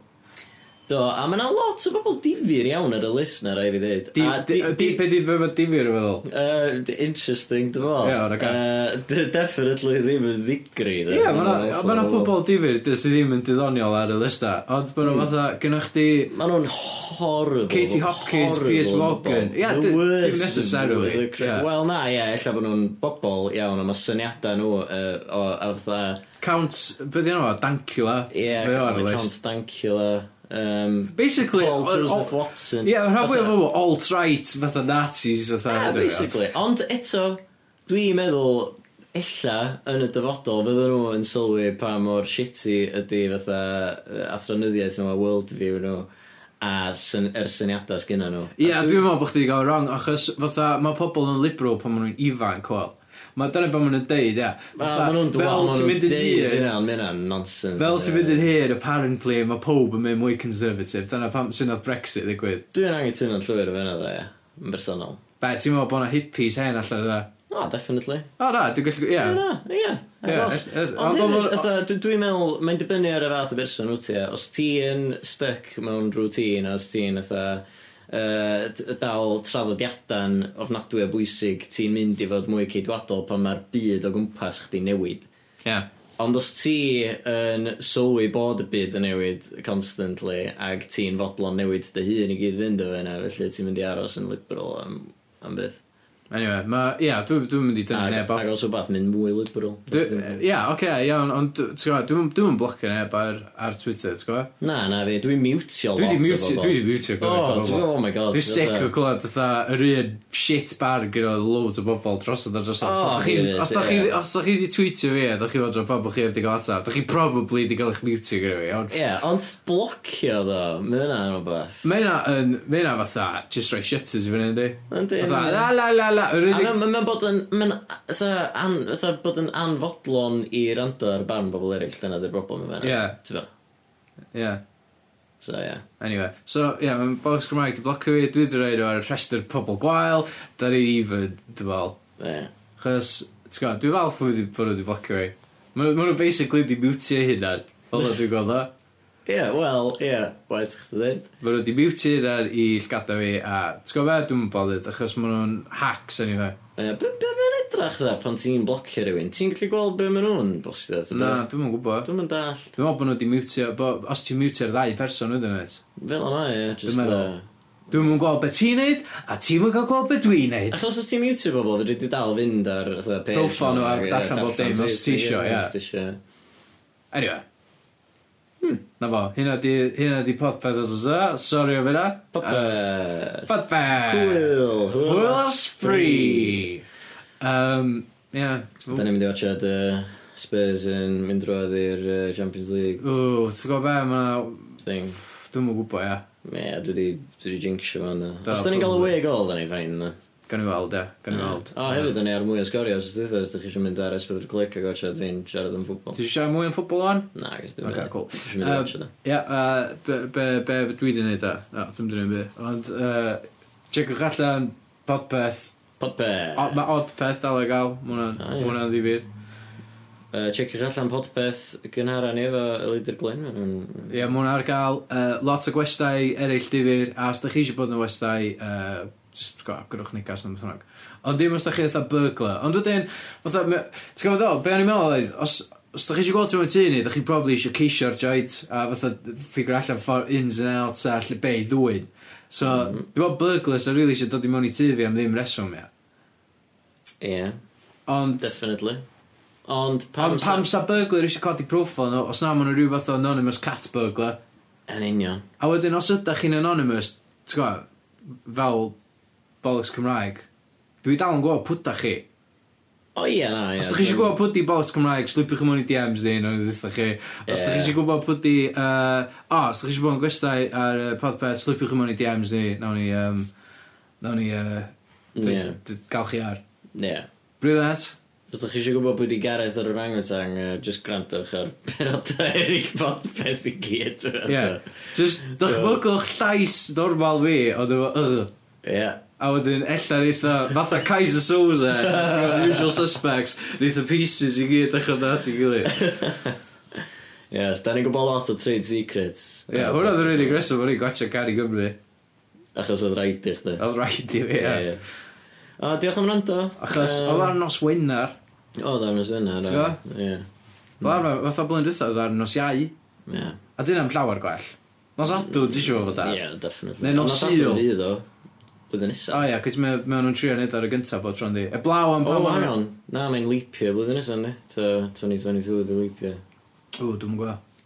Speaker 1: Do, a mae yna lot o bobl difyr iawn ar y list na, rai fi ddweud.
Speaker 2: Di, di, di, pe di, fe mae difyr yn feddwl.
Speaker 1: Uh, interesting, dwi'n meddwl.
Speaker 2: Ie, ond ocê.
Speaker 1: Yy, d- definitely ddim yn ddigri.
Speaker 2: Ie, yeah, mae yna pobl difyr dy- sydd ddim yn diddoniol ar y lista, ond mae nhw fatha, gynnwch chdi...
Speaker 1: Mae nhw'n horrible.
Speaker 2: Katie Hopkins,
Speaker 1: horrible
Speaker 2: Piers Morgan.
Speaker 1: bobl.
Speaker 2: Ie,
Speaker 1: The
Speaker 2: d- dim
Speaker 1: worst
Speaker 2: necessarily,
Speaker 1: of the cra-
Speaker 2: ie.
Speaker 1: Wel, na, ie, ella bod nhw'n bobl iawn, ond mae syniadau nhw uh, o, a fatha...
Speaker 2: Count, beth yna o, Dancula.
Speaker 1: Ie,
Speaker 2: mae o ar y list.
Speaker 1: Count Dankula. Um,
Speaker 2: Basically,
Speaker 1: Paul
Speaker 2: o- o-
Speaker 1: Joseph Watson.
Speaker 2: Ie, mae'n rhan fwy o
Speaker 1: Fatha-
Speaker 2: bobl alt-right, fatha Nazis, fatha... e?
Speaker 1: Yeah, basically. Ond eto, dwi'n meddwl, ella, yn y dyfodol, fydden nhw yn sylwi pa mor shitty ydy fatha yy, athronyddiaeth nhw a worldview nhw a syn, er syniadau sgynna nhw.
Speaker 2: Ie, yeah, dwi'n meddwl bod chdi wedi gael wrong, achos fatha, mae pobl yn liberal pan maen nhw'n ifanc, wel. Mae dyna beth maen nhw'n deud, ie. Fatha,
Speaker 1: Ma nhw'n dweud,
Speaker 2: fel
Speaker 1: ma
Speaker 2: ti'n
Speaker 1: nhw'n
Speaker 2: mynd yn
Speaker 1: deud
Speaker 2: hir-
Speaker 1: hynna, ond mae hynna'n e? nonsens.
Speaker 2: Fel ti'n mynd yn hir, apparently, mae pob yn mynd mwy conservative. Dyna pam sy'n oedd Brexit ddigwydd.
Speaker 1: Dwi'n angytuno'n llwyr o fyna dde, yn bersonol.
Speaker 2: Be, ti'n meddwl bod yna hippies hen allan yna?
Speaker 1: O, definitely.
Speaker 2: O, na, dwi'n gallu... Ie.
Speaker 1: Ie, na, ie.
Speaker 2: Ie,
Speaker 1: achos-
Speaker 2: e- e-
Speaker 1: Ond
Speaker 2: ond
Speaker 1: hefyd,
Speaker 2: oedd-
Speaker 1: fatha, dwi- dwi'n meddwl, mae'n dibynnu ar y fath o berson wyt ti. ie. Os ti yn stuck mewn routine, os ti'n fatha, yy, d- dal traddodiadan ofnadwy o bwysig, ti'n mynd i fod mwy ceidwadol pan mae'r byd o gwmpas chdi newid.
Speaker 2: Ie.
Speaker 1: Ond os ti yn sylwi bod y byd yn newid constantly ac ti'n fodlon newid dy hun i gyd fynd o yna, felly ti'n mynd i aros yn liberal am, am beth.
Speaker 2: Anyway, mae... Ie, dwi'n dwi'n mynd i dynnu
Speaker 1: Ac,
Speaker 2: neb off.
Speaker 1: ac os o beth mynd mwy liberal.
Speaker 2: Dwi- Ie, oce, iawn, ond ti'n gwybod, dwi'n dwi'n blocio neb ar, ar Twitter, ti'n gwybod?
Speaker 1: Na, na fi, dwi'n mutio
Speaker 2: Dwi
Speaker 1: lot o
Speaker 2: di mutio,
Speaker 1: bobl.
Speaker 2: dwi di mutio
Speaker 1: O,
Speaker 2: gwrdd.
Speaker 1: dwi- oh my god.
Speaker 2: Dwi'n sick o clywed fatha yr un shit bar gyda loads o bobl drosodd a drosodd.
Speaker 1: O,
Speaker 2: So, dach chi-
Speaker 1: hefyd,
Speaker 2: os da chi,
Speaker 1: ie.
Speaker 2: os da chi wedi tweetio fi, da chi fod o'r pobl chi heb di gael atab, da chi probably wedi gael eich mutio gyda fi, iawn.
Speaker 1: Ie, yeah, ond blocio ddo, mae hynna yn rhywbeth.
Speaker 2: Mae yna yn, mae yna fatha, just rhoi shitters i fyny, ynddi?
Speaker 1: Yndi,
Speaker 2: Fatha,
Speaker 1: yndi.
Speaker 2: la la la la, yr
Speaker 1: A
Speaker 2: unig...
Speaker 1: mae'n ma bod yn, mae'n fatha an- fatha bod yn anfodlon i rando ar barn bobl eraill, dyna dy'r broblem yma.
Speaker 2: Ie.
Speaker 1: Tyfa,
Speaker 2: Yeah.
Speaker 1: so ie.
Speaker 2: Anyway, so, ie, yeah, mae'n bocs Cymraeg di blocio fi, dwi wedi rhoi nhw ar y rhestr pobl gwael, da ni even, dwi'n fel.
Speaker 1: Ie.
Speaker 2: Chos, ti'n gwybod, dwi'n falch bod wedi bod wedi blocio fi. Mae nhw basically di mutio hynna'n, fel o dwi'n gweld o.
Speaker 1: Ie, wel, ie, waith chdi dweud.
Speaker 2: Mae nhw wedi muted ar i llgada fi a ti'n gwybod beth dwi'n bothered achos maen nhw'n hacks yn i fe.
Speaker 1: Be, be mae'n edrach dda pan ti'n blocio rhywun? Ti'n gallu gweld be maen nhw'n bostio?
Speaker 2: Na, dwi'n yn gwybod.
Speaker 1: Dwi'n mynd dall.
Speaker 2: Dwi'n meddwl bod nhw wedi mutio, bo- os ti'n mutio'r ddau person ydyn nhw.
Speaker 1: Fel yma, ie. jyst,
Speaker 2: Dwi'n meddwl.
Speaker 1: yy,
Speaker 2: Dwi'n yn gweld beth ti'n neud a ti'n yn cael gweld beth dwi'n neud.
Speaker 1: Achos os ti'n mute bobl, fyddi di dal fynd ar fatha page.
Speaker 2: Profile nhw
Speaker 1: nhw,
Speaker 2: ac
Speaker 1: ie,
Speaker 2: darllen bob dim os ti isio, ie.
Speaker 1: os ti isio.
Speaker 2: Anyway. Hmm, Na fo, hynna di, hynna di podpeth os oes e. Sorry o fyna.
Speaker 1: Popeth.
Speaker 2: Podpeth.
Speaker 1: Hwyl.
Speaker 2: Hwyl spree. Um, yeah.
Speaker 1: Da ni'n mynd i watchad uh, Spurs yn mynd drwad i'r uh, Champions League
Speaker 2: Ww, ti'n gwybod be, mae
Speaker 1: thing.
Speaker 2: Dwi'm yn gwybod, ia.
Speaker 1: Ie, dwi di, dwi di jinxio fo'n da.
Speaker 2: Da,
Speaker 1: Os da ni'n gael y
Speaker 2: probably.
Speaker 1: way goal, da ni fain, da.
Speaker 2: Gan i weld, ia. Gan i weld.
Speaker 1: O, hefyd, da ni ar mwy o sgorio, os ydych os ydych chi eisiau mynd ar S4 Click ac ocha dwi'n siarad am
Speaker 2: Ti
Speaker 1: ffwbol.
Speaker 2: eisiau siarad mwy am ffwbol o'n?
Speaker 1: Na, gys dwi'n
Speaker 2: Ok,
Speaker 1: mynd.
Speaker 2: cool.
Speaker 1: Dwi'n mynd i
Speaker 2: Yym,
Speaker 1: watch o da.
Speaker 2: Ia, a be, be, be dwi wedi gwneud da? No, dwi'n dwi'n byd. Ond, uh, checwch allan Podpeth. O,
Speaker 1: Podpeth.
Speaker 2: Mae Odpeth dal ar gael. Mae
Speaker 1: O, ie.
Speaker 2: hwnna'n ddifur.
Speaker 1: Yy, Checiwch allan Podpeth gynhara ni efo Elidr Glyn. Mm,
Speaker 2: Ie, mae hwnna ar gael. Uh, lot o gwestai eraill difur. A os da chi eisiau bod yn y westai, uh, just, go, gwrwch negas yn ymwthnog. Ond dim os da chi eitha burglar. Ond wedyn, fatha, me- ti'n gwybod o, be o'n i'n meddwl oedd, os, os da chi eisiau gweld ti'n mynd tŷ ni, da chi probably eisiau ceisio'r joint a fatha ffigur allan ffordd ins and outs a lle be i ddwyn. So, mm. dwi'n meddwl burglars a really eisiau dod i mewn i tŷ fi am ddim reswm, ia.
Speaker 1: Ie,
Speaker 2: Ond,
Speaker 1: definitely. Ond
Speaker 2: pam,
Speaker 1: pam...
Speaker 2: pam sa burglar eisiau codi profil nhw, os na maen nhw rhyw fath o anonymous cat burglar,
Speaker 1: Yn union.
Speaker 2: A wedyn, os ydych chi'n anonymous, ti'n gwybod, fel bollocks Cymraeg, dwi dal yn gwybod pwta chi.
Speaker 1: O ie, na, ie.
Speaker 2: Os ydych chi eisiau gwybod pwti bollocks Cymraeg, slipio chi mewn i DMs di, nhw'n ddeitha chi. Os ydych chi
Speaker 1: Ie.
Speaker 2: eisiau gwybod pwti, uh, o, os ydych chi eisiau bod yn gwestai ar uh, podpeth, slipio chi mewn i DMs di, nawn ni, um, nawn ni, uh,
Speaker 1: Ie,
Speaker 2: yeah. gael chi ar.
Speaker 1: ie.
Speaker 2: Brilliant.
Speaker 1: Os ydych chi eisiau gwybod pwy di Gareth ar orangutang, yy, just grantwch ar penodau Eric Podpeth i gyd.
Speaker 2: Ie. Yeah. Just dychmygwch llais normal fi, ond efo, ugh.
Speaker 1: Ie.
Speaker 2: A wedyn, ella neitha, fatha Kaiser Souza, usual suspects, neitha pieces i gyd ddechrau dda at ei gilydd. Ie,
Speaker 1: Yes, da ni'n gwybod lot o trade secrets.
Speaker 2: yeah, hwnna ddyn ni'n agresif o'n i'n gwachio Cari Gymru.
Speaker 1: Achos oedd rhaid i chdi.
Speaker 2: Oedd rhaid i fi, ie.
Speaker 1: Ie. O, diolch am rando.
Speaker 2: Achos,
Speaker 1: Yym,
Speaker 2: oedd ar nos wynar,
Speaker 1: O, dda nos yna.
Speaker 2: Ti'n
Speaker 1: do.
Speaker 2: gwbo?
Speaker 1: Ie.
Speaker 2: oedd ar fatha blwyddyn dwytha, oedd ar nos iau,
Speaker 1: Ie.
Speaker 2: a dyn am llawer gwell. Nos adw, ti siw fod ar?
Speaker 1: Ie, definitely.
Speaker 2: Neu nos Sul.
Speaker 1: Fydd o. Bydd yn
Speaker 2: O
Speaker 1: isa.
Speaker 2: ia, cys mae mae nhw'n trio neud ar y gyntaf bod tron di. E blaw am
Speaker 1: O,
Speaker 2: pan ma'n...
Speaker 1: anon. Na, mae'n leapio blwyddyn nesa, ynddi. Ta 2022 ydi leapio.
Speaker 2: O, dwi'n gwybod.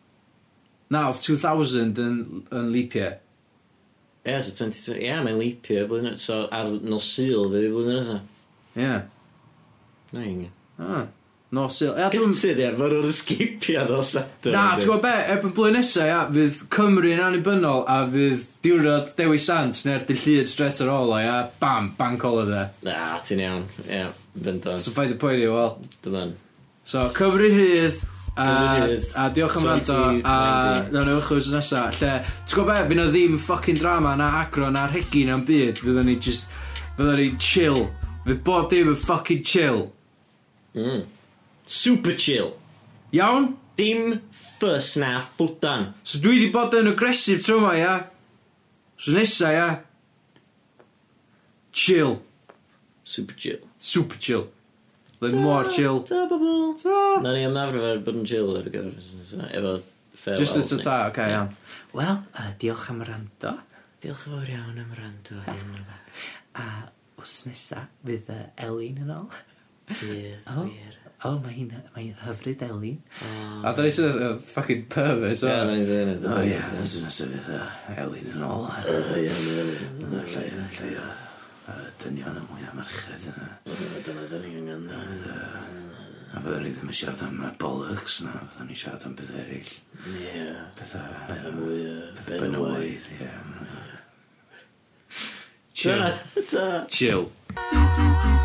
Speaker 2: Na, oedd 2000 yn, yn leap year.
Speaker 1: Ie, so 2020... Ie, mae'n leapio blwyddyn nesa. So, ar nos syl fydd i blwyddyn nesa.
Speaker 2: Ie. Yeah.
Speaker 1: Na, inge.
Speaker 2: Ah. Nos il. Ia, dwi'n...
Speaker 1: Gynti, di, arfer o'r sgipio nos adeg.
Speaker 2: Na, ti'n gwybod be, erbyn blwyddyn nesa, ia, fydd Cymru yn annibynnol a fydd diwrnod Dewi Sant neu'r dillyd stret ar ôl o, ia, bam, bank all of there.
Speaker 1: Na, ti'n iawn. Ie, bendant.
Speaker 2: So paid y pwynt i, wel.
Speaker 1: Dylan.
Speaker 2: So, Cymru rhydd, a,
Speaker 1: Cymru Rhydd,
Speaker 2: a diolch am rando, a
Speaker 1: 2020.
Speaker 2: nawn ni wychwys nesa, lle, ti'n gwybod be, fydd o ddim ffocin drama na agro na'r hegi na'n byd, fydd ni just, fydd ni chill, fydd bob dim yn ffocin chill.
Speaker 1: Mm. Super chill.
Speaker 2: Iawn?
Speaker 1: Dim ffys na ffwdan.
Speaker 2: So dwi di bod yn agresif tro yma, ia. So nesa, ia. Chill.
Speaker 1: Super chill.
Speaker 2: Super chill. Like more chill.
Speaker 1: Ta bobl. Na ni amnafrif ar bod yn chill ar y gyfer. so, Efo farewell.
Speaker 2: Just at a
Speaker 1: ni.
Speaker 2: ta, oce, iawn. Wel, uh, diolch am rando.
Speaker 1: Diolch yn fawr iawn am rando hyn.
Speaker 2: A wrth nesa, fydd uh, Elin yn ôl.
Speaker 1: Fydd,
Speaker 2: O.
Speaker 1: wir.
Speaker 2: O, oh, mae hi'n mae hi'n hyfryd Elin.
Speaker 1: O.
Speaker 2: A da ni sy'n uh, fucking pervert,
Speaker 1: Ie, na
Speaker 2: o.
Speaker 1: ni'n sy'n edrych.
Speaker 2: O ie, wrth nesa fydd uh, Oh, Elin yn ôl.
Speaker 1: O, ie, na.
Speaker 2: Lle, lle, uh, dynion y mwyaf merched yna.
Speaker 1: Dyna dyn ni'n angen.
Speaker 2: A fydden ni ddim yn siarad am y bollocks na, fydden ni siarad am beth eraill.
Speaker 1: Ie. Beth
Speaker 2: Bethau...
Speaker 1: am mwy.
Speaker 2: Bethau benywaidd, ie.
Speaker 1: Ta. Ta.
Speaker 2: Chill.